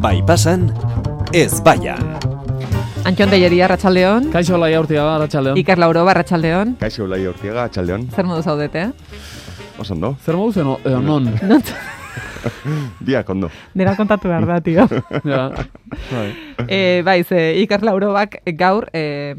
Bai pasan, ez baian. Antxon Deieri, arratsaldeon. Kaixo laia urtia ba, arratsaldeon. Iker Lauro, arratsaldeon. Kaixo lai urtiaga, atxaldeon. Zer modu zaudete, eh? Oso ondo. Zer modu zen, o- eh, non? Biak ondo. Nera kontatu behar da, tio. ja. Bai. e, bai, ze, Iker Laurobak gaur e,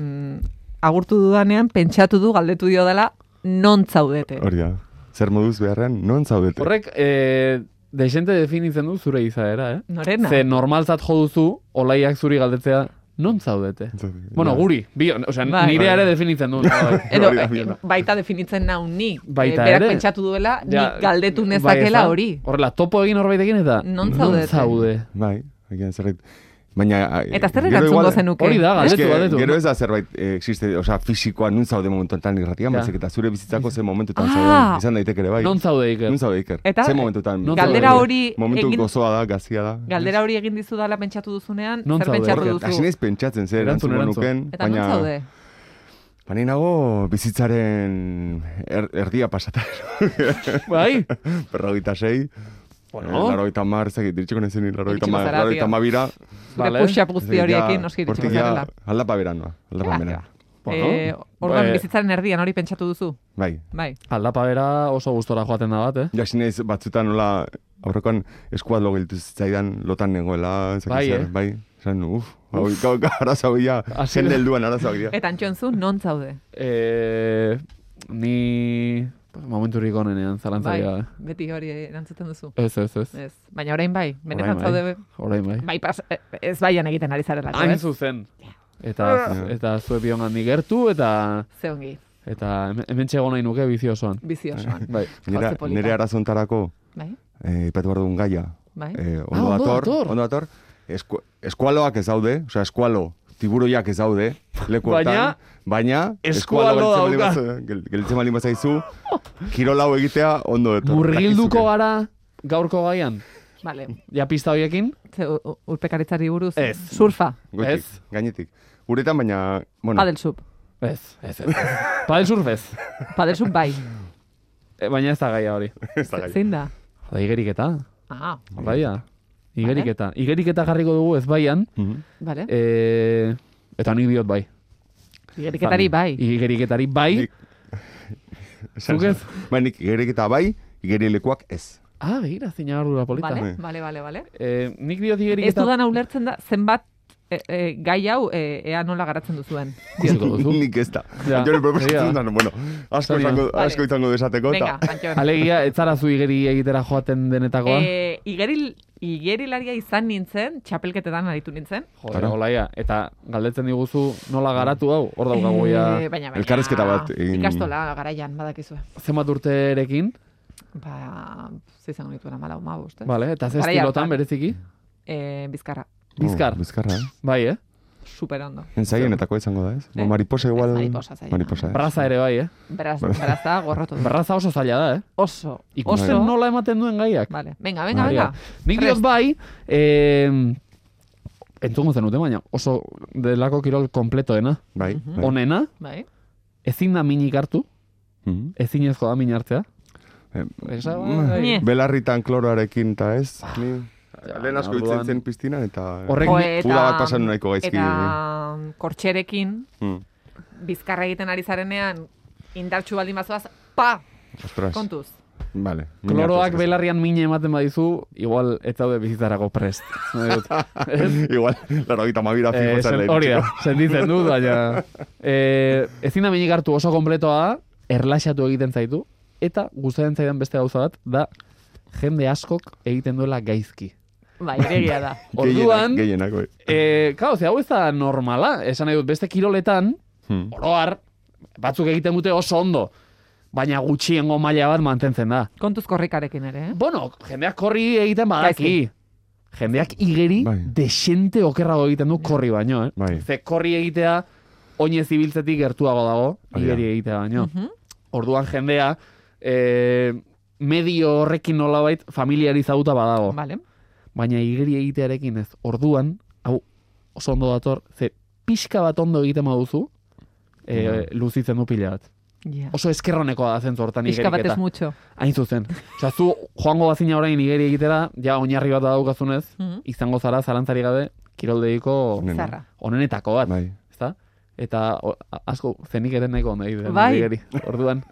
agurtu dudanean pentsatu du galdetu dio dela non zaudete. Hori da. Zer moduz beharrean, non zaudete? Horrek, eh, desente definitzen du zure izaera, eh? Norena. Ze normalzat jo duzu, olaiak zuri galdetzea, non zaudete? Bueno, guri, bi, osea, Bai. nire ere definitzen du. bai. Edo, Hori da, eh, hori da. baita definitzen nau ni. Baita Eh, berak ere. pentsatu duela, Ja, nik galdetu bai, nezakela ezta? hori. Horrela, topo egin horbaitekin eta Non zaudete? zaude. Bai, egia zerbait. Baina... a- Eta zer gero erantzungo igual- Ah, zenuke? Hori da, Eske, galdetu, galdetu. Gero ez da zerbait eh, existe, osea, fisikoa nun zaude momentuetan irratian, Ja. baizik eta zure bizitzako ze momentutan Ah! zauden. Izan daiteke ere bai. Non zaude Iker? Non zaude Iker? Eta ze momentutan? non galdera zaudete? hori Momentu egin, gozoa da, gazia da. galdera hori egin dizu dela pentsatu duzunean, Non zer zaude? pentsatu Horrek, hasi duzu? naiz pentsatzen zer Erantzun, erantzungo erantzun. nuken, Eta non baina... zaude? Baina nago bizitzaren er, erdia pasata. Bai? Berrogeita sei. Bueno. Bueno. Larogeita mar, ezakit, diritxiko nezen, larogeita Iritsiko mar, zara, larogeita tio. ma bira. Zure Vale. puxa guzti horiekin noski iritsiko hortik ja zarela. Aldapa bera noa, aldapa Ja, bera. ja. Eh, orduan Bai. bizitzaren erdian hori pentsatu duzu. Bai, Bai. Aldapa bera oso gustora joaten da bat, eh? jasin naiz batzutan nola aurrekoan eskuat lo gelditu zitzaidan lotan nengoela, ezakit Bai, zer, eh? bai. Zan, uf, hau, gau, gau, arazo bila, Hasi- jende helduan arazo bila. Eta antxon zu, non zaude? Eh, ni momenturik onenean Bai, zalantzarik gabe. beti hori erantzuten duzu. Ez, ez, ez. Ez. Baina orain bai, benetan Orain zaude, Orain bai. bai, pas, eh, ez baian egiten ari zarela. Hain zuzen. Eta, Ah. eta zue bion handik gertu, eta, Ze ongi, eta hemen- hemen txego nahi nuke bizi osoan. bizi osoan. Bai. Nera, jauzi polita. nere arazontarako, Bai, eh, ipatu behar dugun gaia, bai. Eh, Ah, ondo ondo dator, dator. ondo dator. Esku, eskualoak ez daude, osea, eskualo, tiburoiak ez daude, leku Baina- hortan, baina eskualo eskualo dauka. gelditzen bali bazaizu, kirol hau egitea ondo dator. Murgilduko Dakizuke. gara gaurko gaian, Vale, ja pista hoiekin, ze u- u- urpekaritzari buruz. Ez. Surfa, Goitik, Ez. Gainetik. Uretan, baina, bueno, padel sup. ez, ez, ez. Padel surf ez, Padel sup bai. E, baina ez da gaia hori. ez da gai. Zein da? Eta igeriketa, Ah, baia. Igeriketa. Igeriketa jarriko dugu ez baian, Mhm. bale. e, eta nik diot bai. Igeriketari bai. Igeriketari bai. Nik- Esan- Zuk ez? Ba, nik igeriketa bai, igerilekuak ez. Ah, begira, zina gardura polita. Bale, Bai. bale, bale, bale. E, nik diot Ez igeriketa... dudan ulertzen da, zenbat eh, eh, gai hau eh, ea nola garatzen duzuen. Ikusiko duzu. Nik ez da. Ja. Jore Egia proposatzen da. da, bueno, asko Sorry. izango, Vale. asko izango desateko. Venga, eta- Antxon. Alegia, ez zara zu igeri egitera joaten denetakoa. E, igeril, igerilaria izan nintzen, txapelketetan aritu nintzen. Joder, Claro. olaia. Eta galdetzen diguzu nola garatu hau, hor daukagu ja Eh, baina, baina, Elkarrezketa bat egin- Ikastola garaian, badakizue. zenbat urterekin, Ba, zizan nituen amala huma bost, eh? vale? eta ze Garaia estilotan hartan. bereziki, Eh, bizkarra, bizkar, Oh, bizkarra, eh? bai, eh? super ondo. Ensaienetako izango da, ez? Eh. Bo, mariposa igual... Ez, mariposa zaiena. Mariposa, ez? Braza ere bai, eh? Beraz, beraza, gorrotu. Berraza oso zaila da, eh? Oso, Ikusten oso. nola ematen duen gaiak. Vale, venga, venga, Maria. venga. Nik Prest. diot bai, eh, entzungo zenuten, baina oso delako kirol kompletoena, Bai, bai. onena, Bai. ezin da minik hartu, Mhm. ezinezko da min hartzea. Eh, Esa, Nie. bai. Belarritan kloroarekin eta ez. Ni, lehen asko Ah, orduan- hitzen zen piztinan eta... Horrek- Jo, ni- Uda bat pasan nahiko gaizki. Eta kortxerekin, Mm, bizkarra egiten ari zarenean, indartxu baldin bazoaz, pa, ostras. kontuz. Vale. Kloroak Minak, belarrian mine ematen badizu, igual ez daude bizitzarako prest. Nahi dut. Ez? ez- Igual, laro gita mabira Eh, fijotzen sen- lehen. hori da, senditzen dut, baina... Eh, ezin da minik hartu oso kompletoa da, erlaxatu egiten zaitu, eta gustatzen zaidan beste gauza bat, da jende askok egiten duela gaizki. Bai, egia da. Orduan, Gehienak, bai. eh, kao, ze hau ez da normala, esan nahi dut, beste kiroletan, Hmm. oroar, batzuk egiten dute oso ondo, baina gutxiengo maila bat mantentzen da. Kontuz korrikarekin ere, eh? Bueno, jendeak korri egiten badaki. Jendeak igeri Bai. desente okerrago egiten du korri baino, eh? Bai. Ze korri egitea oinez ibiltzetik gertuago dago, Hori da. igeri egitea baino. Mhm. Orduan jendea eh, medio horrekin nolabait familiarizatuta badago. Vale. Baina igeri egitearekin ez. Orduan, hau Bai. oso ondo dator, ze pixka bat ondo egiten baduzu, eh, luzitzen du pila bat. Ja. Oso eskerronekoa da zentzu hortan Pixka bat ez igeriketa. mucho. Hain zuzen. Osa, zu joango bazina orain igeri egitera, ja oinarri bat daukazunez, Mhm. izango zara, zalantzari gabe, kiroldegiko Onena. Zarra. onenetako bat. Bai. Ezta? Eta o, a- asko, zenik ere nahiko ondo egiten. Bai. igeri. Orduan,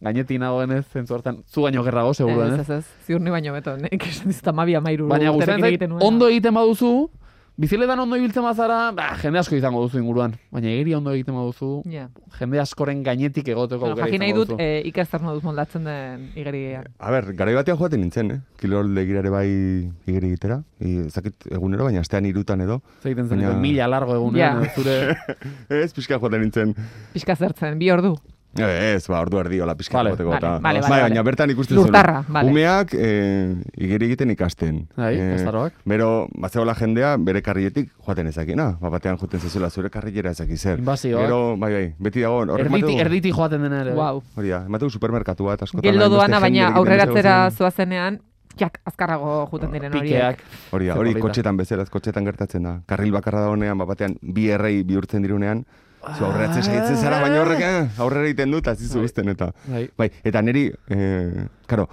gainetik nagoenez, zentzu hortan, zu baino gerrago, Ez, seguruenez. ez, ez. Ziur ni baino beto, nek esan dizut amabi amairu. Baina urterekin gustatzen zait, egiten nuena. ondo egiten baduzu, biziletan ondo ibiltzen bazara, ba, jende asko izango duzu inguruan. Baina egeri ondo egiten baduzu, Ja. jende askoren gainetik egoteko Bueno, aukera jakin nahi izango dut duzu. eh, ikaster moduz moldatzen den igeriak. A ber, garai batean joaten nintzen, eh? Kirolde girare bai igeri egitera. I, ez dakit egunero, baina astean irutan edo. Zeiten zen, Baina- mila largo egunean, Ja. zure... Ez, pixka joaten nintzen. Pixka zertzen, bi ordu. Eh, Ez, ba, ordu erdi, hola pixka Vale, joteko vale, eta- vale, Bai, vale, baina vale. bertan ikusten Lurtarra, vale. Umeak eh, igeri egiten ikasten. Eh, Bai, azaroak. Bero, batzeola jendea bere karrietik joaten ezakina. Ba, batean joaten zezula zure karriera ezaki zer. Inbasioak. Gero, bai, bai, beti dago. horrek ematen Erditi, du- erditi joaten dena ere. bai. Wow. Hori da, emateu supermerkatua eta askotan... Geldo hainbeste doana, baina jende egiten aurreratzera ez dago zoazenean, jak, azkarrago juten diren horiek. Pikeak. zen- Hori da, hori Zepolita. kotxetan bezala, ez kotxetan gertatzen da. Karril bakarra da honean, bat batean bi errei bihurtzen dirunean, zu Ah. aurreratzen saiatzen zara, baina horrek eh, aurrera egiten dut, azizu Bai. uzten eta... Bai. Bai, eta niri, eh, karo,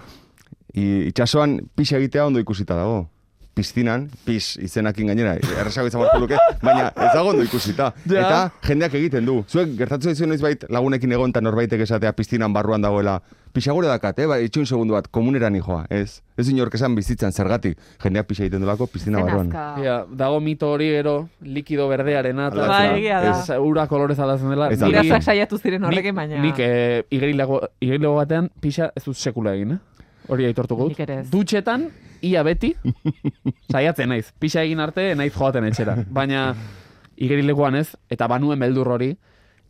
i- itxasoan pis egitea ondo ikusita dago. Piztinan, pis izenakin gainera, erresago izan barko luke, baina ez dago ondo ikusita. Ja. Eta jendeak egiten du. Zuek gertatu zaizu noizbait lagunekin egon eta norbaitek esatea piztinan barruan dagoela. Pixagore dakat, eh? Ba, itxun segundu bat, komuneran joa, ez? Ez inork esan bizitzan zergatik, jendeak pixa egiten delako piztina barruan. Ja, dago mito hori gero, likido berdearena. eta- Aldatzen Bai, egia da. Ez, Ura kolorez aldatzen dela. Ez Niri- aldatzen. Irasak saiatu ziren Nik, horrekin, baina... nik eh, igerilago, igerilago batean pixa ez dut sekula egin, eh? Hori aitortuko Nik ere ez. dut. Dutxetan, ia beti, saiatzen naiz. Pixa egin arte, naiz joaten etxera. Baina, igerilekoan ez, eta banuen beldur hori,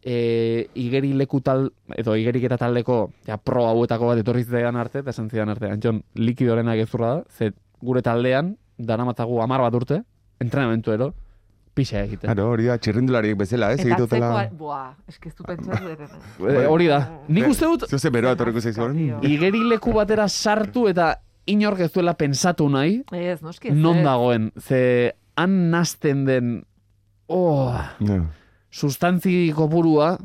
e, igerileku tal, edo igeriketa taldeko ja, pro hauetako bat etorri zitzaidan arte, eta esan zidan arte. Antxon, likidorena gezurra da, ze gure taldean, daramatzagu amar bat urte, entrenamentuero, pixa egiten. Claro, hori da, txirrindulariek bezala, ez? Eta Egitutela... atzeko... Boa, eskiztu pentsatu dena. E, hori da. Nik uste dut, Zuze beroa etorriko zaizu. Tio. igerileku batera sartu eta inork ez duela pensatu nahi, Ez, noski ez. eh? non ez. dagoen. Ze han nazten den oh, Ja. sustantzi kopurua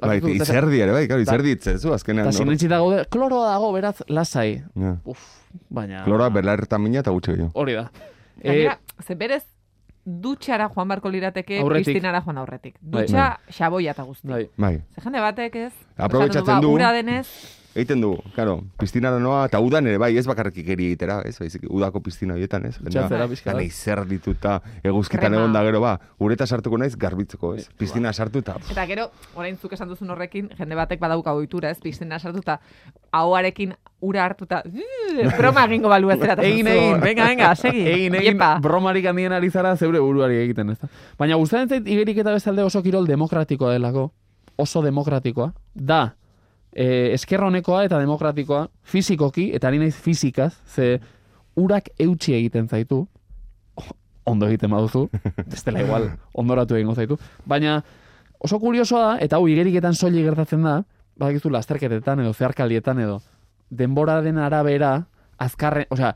Bai, Bakizu, eta- izerdi ere, bai, claro, izerdi itzezu, azkenean. Eta hor. sinetxita gaude, kloroa dago beraz lasai. Ja. Uf, baina... Kloroa belarretan mina eta gutxe gehiago. Hori da. Eh, Gainera, ze berez, dutxara joan barko lirateke, Aurretik. Kristinara joan aurretik. Bai. Dutxa, xaboia eta guzti. bai. Bai, Ze jende batek ez, Aprobetxatzen esaten du. ba, ura denez, egiten du, claro, piztinara noa, eta udan ere, bai, ez bakarrik ikeri egitera, ez, baizik, udako piztina horietan, ez? Itxatzera pixka bat. zer dituta, eguzkitan Krema. egon da gero, ba, ureta sartuko naiz, garbitzeko, ez? Bai. Piztina sartu eta... Eta gero, orain zuk esan duzun horrekin, jende batek badauka ohitura, ez? Piztena sartuta, ahoarekin ura hartuta, "Zzz", broma egingo balu ez eratatzen Egin, zu. egin. Venga, venga, segi. Egin egin Iepa. bromarik handien ari zara zeure buruari egiten, ezta? Baina gustatzen zait igerik eta bestalde oso kirol demokratikoa delako, oso demokratikoa. Da, e, eskerronekoa eta demokratikoa, fizikoki, eta ari naiz fizikaz, ze urak eutxi egiten zaitu, O- ondo egiten baduzu, ez dela igual, ondoratu egingo zaitu. Baina oso kuriosoa da, eta hau igeriketan soilik gertatzen da, badakizu lasterketetan edo zeharkalietan edo, denboraren arabera, azkarren, osea,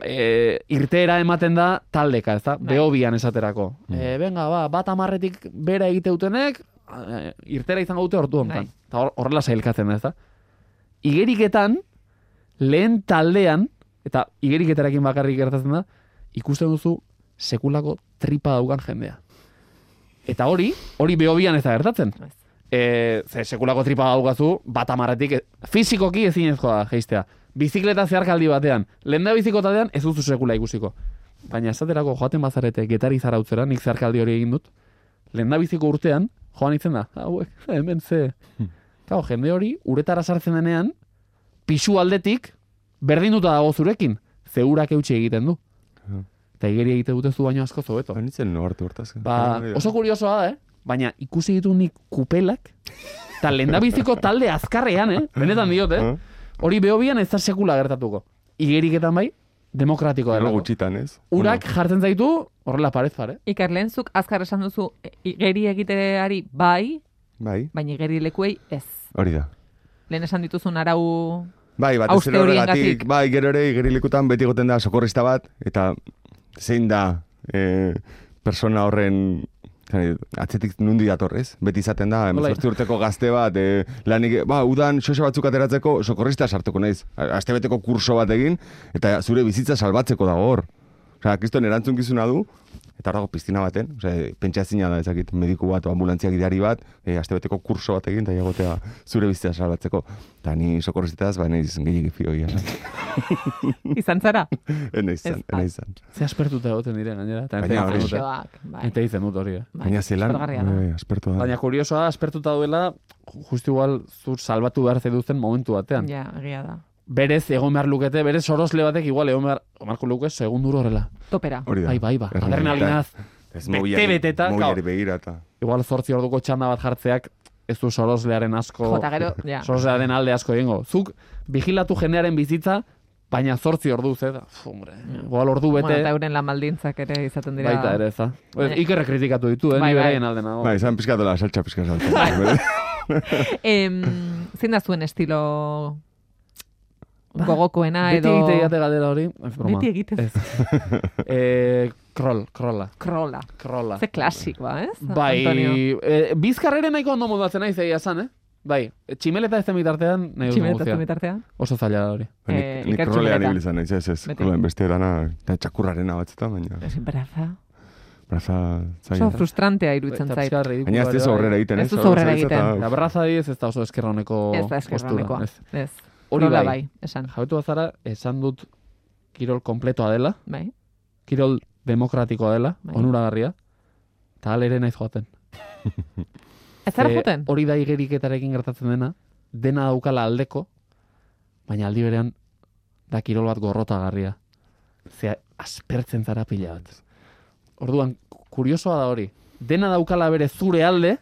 e, irteera ematen da taldeka, ez da? Bai. Behobian esaterako. E, venga, ba, bat amarretik bera egite dutenek, e, irtera izango dute ordu honetan. Bai. Eta hor- horrela sailkatzen da, ez da? Igeriketan, lehen taldean, eta igeriketarekin bakarrik gertatzen da, ikusten duzu sekulako tripa daukan jendea. Eta hori, hori behobian ez da gertatzen. Ez. E, ze sekulako tripa daukazu, bat amarretik, e- fizikoki ezinezkoa da, geistea. Bizikleta zeharkaldi batean, lehen da bizikotatean ez duzu sekula ikusiko. Baina esaterako joaten bazarete getari zarautzera, nik zeharkaldi hori egin dut, lehen da biziko urtean, joan itzen da, hauek, hemen ze. Hmm. Kao, jende hori, uretara sartzen denean, pisu aldetik, berdinduta dago zurekin, zeurak eutxe egiten du. Ja. Eta igeri egite dute zu baino asko zobeto. Ba, nintzen no hartu hortaz. Bai, Ba, oso kuriosoa da, eh? Baina ikusi ditu nik kupelak, eta lendabiziko talde azkarrean, eh? Benetan diot, eh? Eh? Hori behobian ez da sekula gertatuko. Igeriketan bai, demokratikoa Gero delako. gutxitan, ez? Urak jartzen zaitu, horrela parez pare. Iker, lehen zuk azkar esan duzu, e, igeri egiteari bai, Bueno, bai, baina igeri lekuei ez. hori da. Lehen esan dituzun arau... Bai, batez Hauste ere horregatik, horiengatik. bai, gero ere igerilekutan beti goten da sokorrista bat, eta zein da e, persona horren Zan, atzetik nundi datorrez. Beti izaten da, Nola- 18 urteko gazte bat, e, lanik, ba, udan xoxo batzuk ateratzeko sokorrista sartuko naiz. Astebeteko kurso bat egin, eta zure bizitza salbatzeko dago hor. Osea, kriston erantzunkizuna du, eta hor dago piztina baten, osea, pentsazina da ezakit mediku bat, o ambulantziak gidari bat, e, astebeteko kurso bat egin, eta egotea zure bizitza salbatzeko. Eta ni sokorristaz, ba, naiz gehiagik fioia. Izan zara? Enaiz izan, Ez, bai. enaiz izan. Ze aspertuta egoten diren gainera, eta Baina ente hori- egiten dute. Gaixoak, bai. Ente egiten dut hori. eh. Bai, Baina zelan, aspergarria da. e, aspertu da. Baina kuriosoa da, aspertuta duela, justu igual zu salbatu behar zeduzten momentu batean. Ja, egia da. Berez egon behar lukete, berez sorosle batek igual egon behar, marko luke segun duro horrela. Topera. Hori da. Bai, bai, bai. Errealitatea. Adrenalinaz, Ez Bete- mobilari- beteta, mobilari gaur. begira eta. igual zortzi orduko txanda bat jartzeak, ez du soroslearen asko... Jota gero, ja. Soroslearen alde asko egingo. Zuk, vigilatu jendearen bizitza, baina zortzi ordu ez da. Fu, hombre, igual ordu Bueno, bete, eta euren lan baldintzak ere izaten dira. baita ere, ez da. Bai. Ikerre kritikatu ditu, eh, Bai, ni bai. beraien alde nago. Bai, izan pizkatola, saltxa pizka saltxa. Em, zein da zuen estilo gogokoena Ba, Beti Ah, edo... egite egate galdera hori. Ez broma. Beti egiten. Ez. eh, krol, krola. Krola. Krola. Ze klasikoa, ez? Bai, Antonio? eh, bizkarrere nahiko ondo moldatzen naiz egia esan, eh? Bai, tximeleta ez den bitartean nahi dut Tximeleta guztia. bitartean. Oso zaila da hori. Nik, Eh, nik Iker rolean Txupineta. ibil izan naiz, ez, ez. Beti. Rolean beste lana, eta txakurraren abatzetan, baina. Es braza. Braza, Oso zaila. frustrantea iruditzen Eta zait. pixka ridikuloa Baina ez ere ez bai. aurrera egiten, Ez ez? duz Hor aurrera zabiltza egiten. eta- La braza adibidez ez da oso eskerroneko Ez da eskerranekoa. postura, ez. Ez. Hori Krola bai. bai, esan. Jabetu bazara, esan dut kirol kompletoa dela, Bai. kirol demokratikoa dela, Bai. onuragarria, eta alere naiz joaten. Ez zara Ze juten? Hori da igeriketarekin gertatzen dena, dena daukala aldeko, baina aldi berean da kirol bat gorrotagarria. Ze aspertzen zara pila bat. Orduan, kuriosoa da hori. Dena daukala bere zure alde,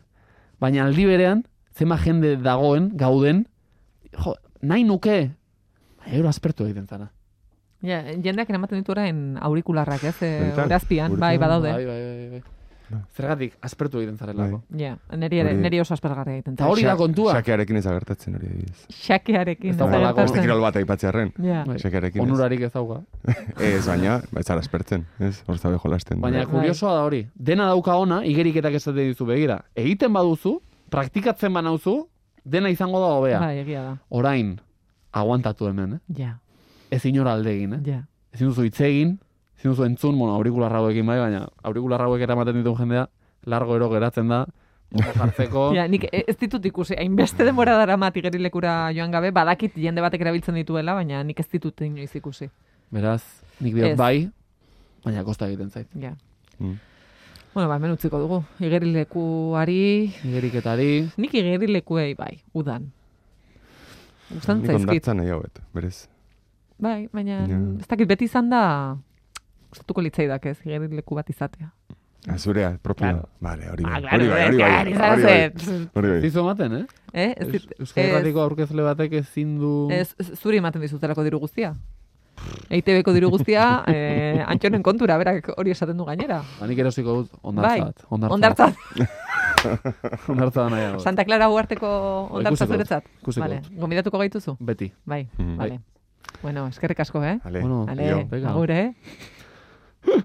baina aldi berean, zema jende dagoen, gauden, jo, nahi nuke, baina gero aspertu egiten zara. Ja, jendeak eramaten ditu orain aurikularrak, ez? E, Benetan? urazpian, Guretan? bai, badaude. Bai, bai, bai, bai. Zergatik, aspertu egiten zarelako. Ja, neri, ere, Hori- neri oso aspergarria egiten. Ta hori da Xa- kontua. Xakearekin ez agertatzen hori adibidez. Xakearekin. Ez dago ez lako- Beste gertatzen. kirol bat aipatzearren. Ja. Bai. Xakearekin ez. Onurarik ez dauka. Ez, baina, ez zara aspertzen, ez? Hor zabe jolasten. Baina Bai. kuriosoa da hori. Dena dauka ona, igeriketak esate dizu begira. Egiten baduzu, praktikatzen banauzu, dena izango da hobea. Bai, egia da. Orain, aguantatu hemen, eh? Ja, Ez inora alde egin, eh? ja. Ezin duzu hitz egin, ezin duzu entzun, bueno, aurikular hauekin bai, baina aurikular hauek eramaten dituen jendea, largo ero geratzen da, ondo jartzeko, Ja, nik ez ditut ikusi, hainbeste denbora dara mati gerilekura joan gabe, badakit jende batek erabiltzen dituela, baina nik ez ditut inoiz ikusi. beraz, nik diot Ez. bai, baina kosta egiten zait. Ja. Mm. Bueno, ba, hemen utziko dugu. Igerilekuari, Igeriketari, nik igerilekuei bai, udan. Gustatzen Nik zaizkit. ondartza nahi hau eta, berez. Bai, baina Ja. ez dakit beti izan da gustatuko litzaidak ez, igerileku bat izatea. Ah, Zurea, propio. Claro. Vale, hori Ah, bai. claro, Hori bai, hori bai. claro, izan Hori bai. zen. Hori bai. zizu ematen, eh? Eh, ez Eus- dit- Euskal Herratiko aurkezle batek ezin du... Ez, ez- zuri ematen dizutelako diru guztia. EITB-ko diru guztia, eh, antxonen kontura, berak hori esaten du gainera. Ba, nik erosiko dut Bai, ondartza bat. ondartza. Ondartza da nahiago. Santa Clara uarteko ondartza ikusiko dut, zuretzat. ikusiko Vale, dut. Mm. Bai. gomidatuko gaituzu? Beti. Bai, Mhm. vale. Bueno, eskerrik asko, eh? Ale, Bueno, Ale, jo. venga. agur, eh?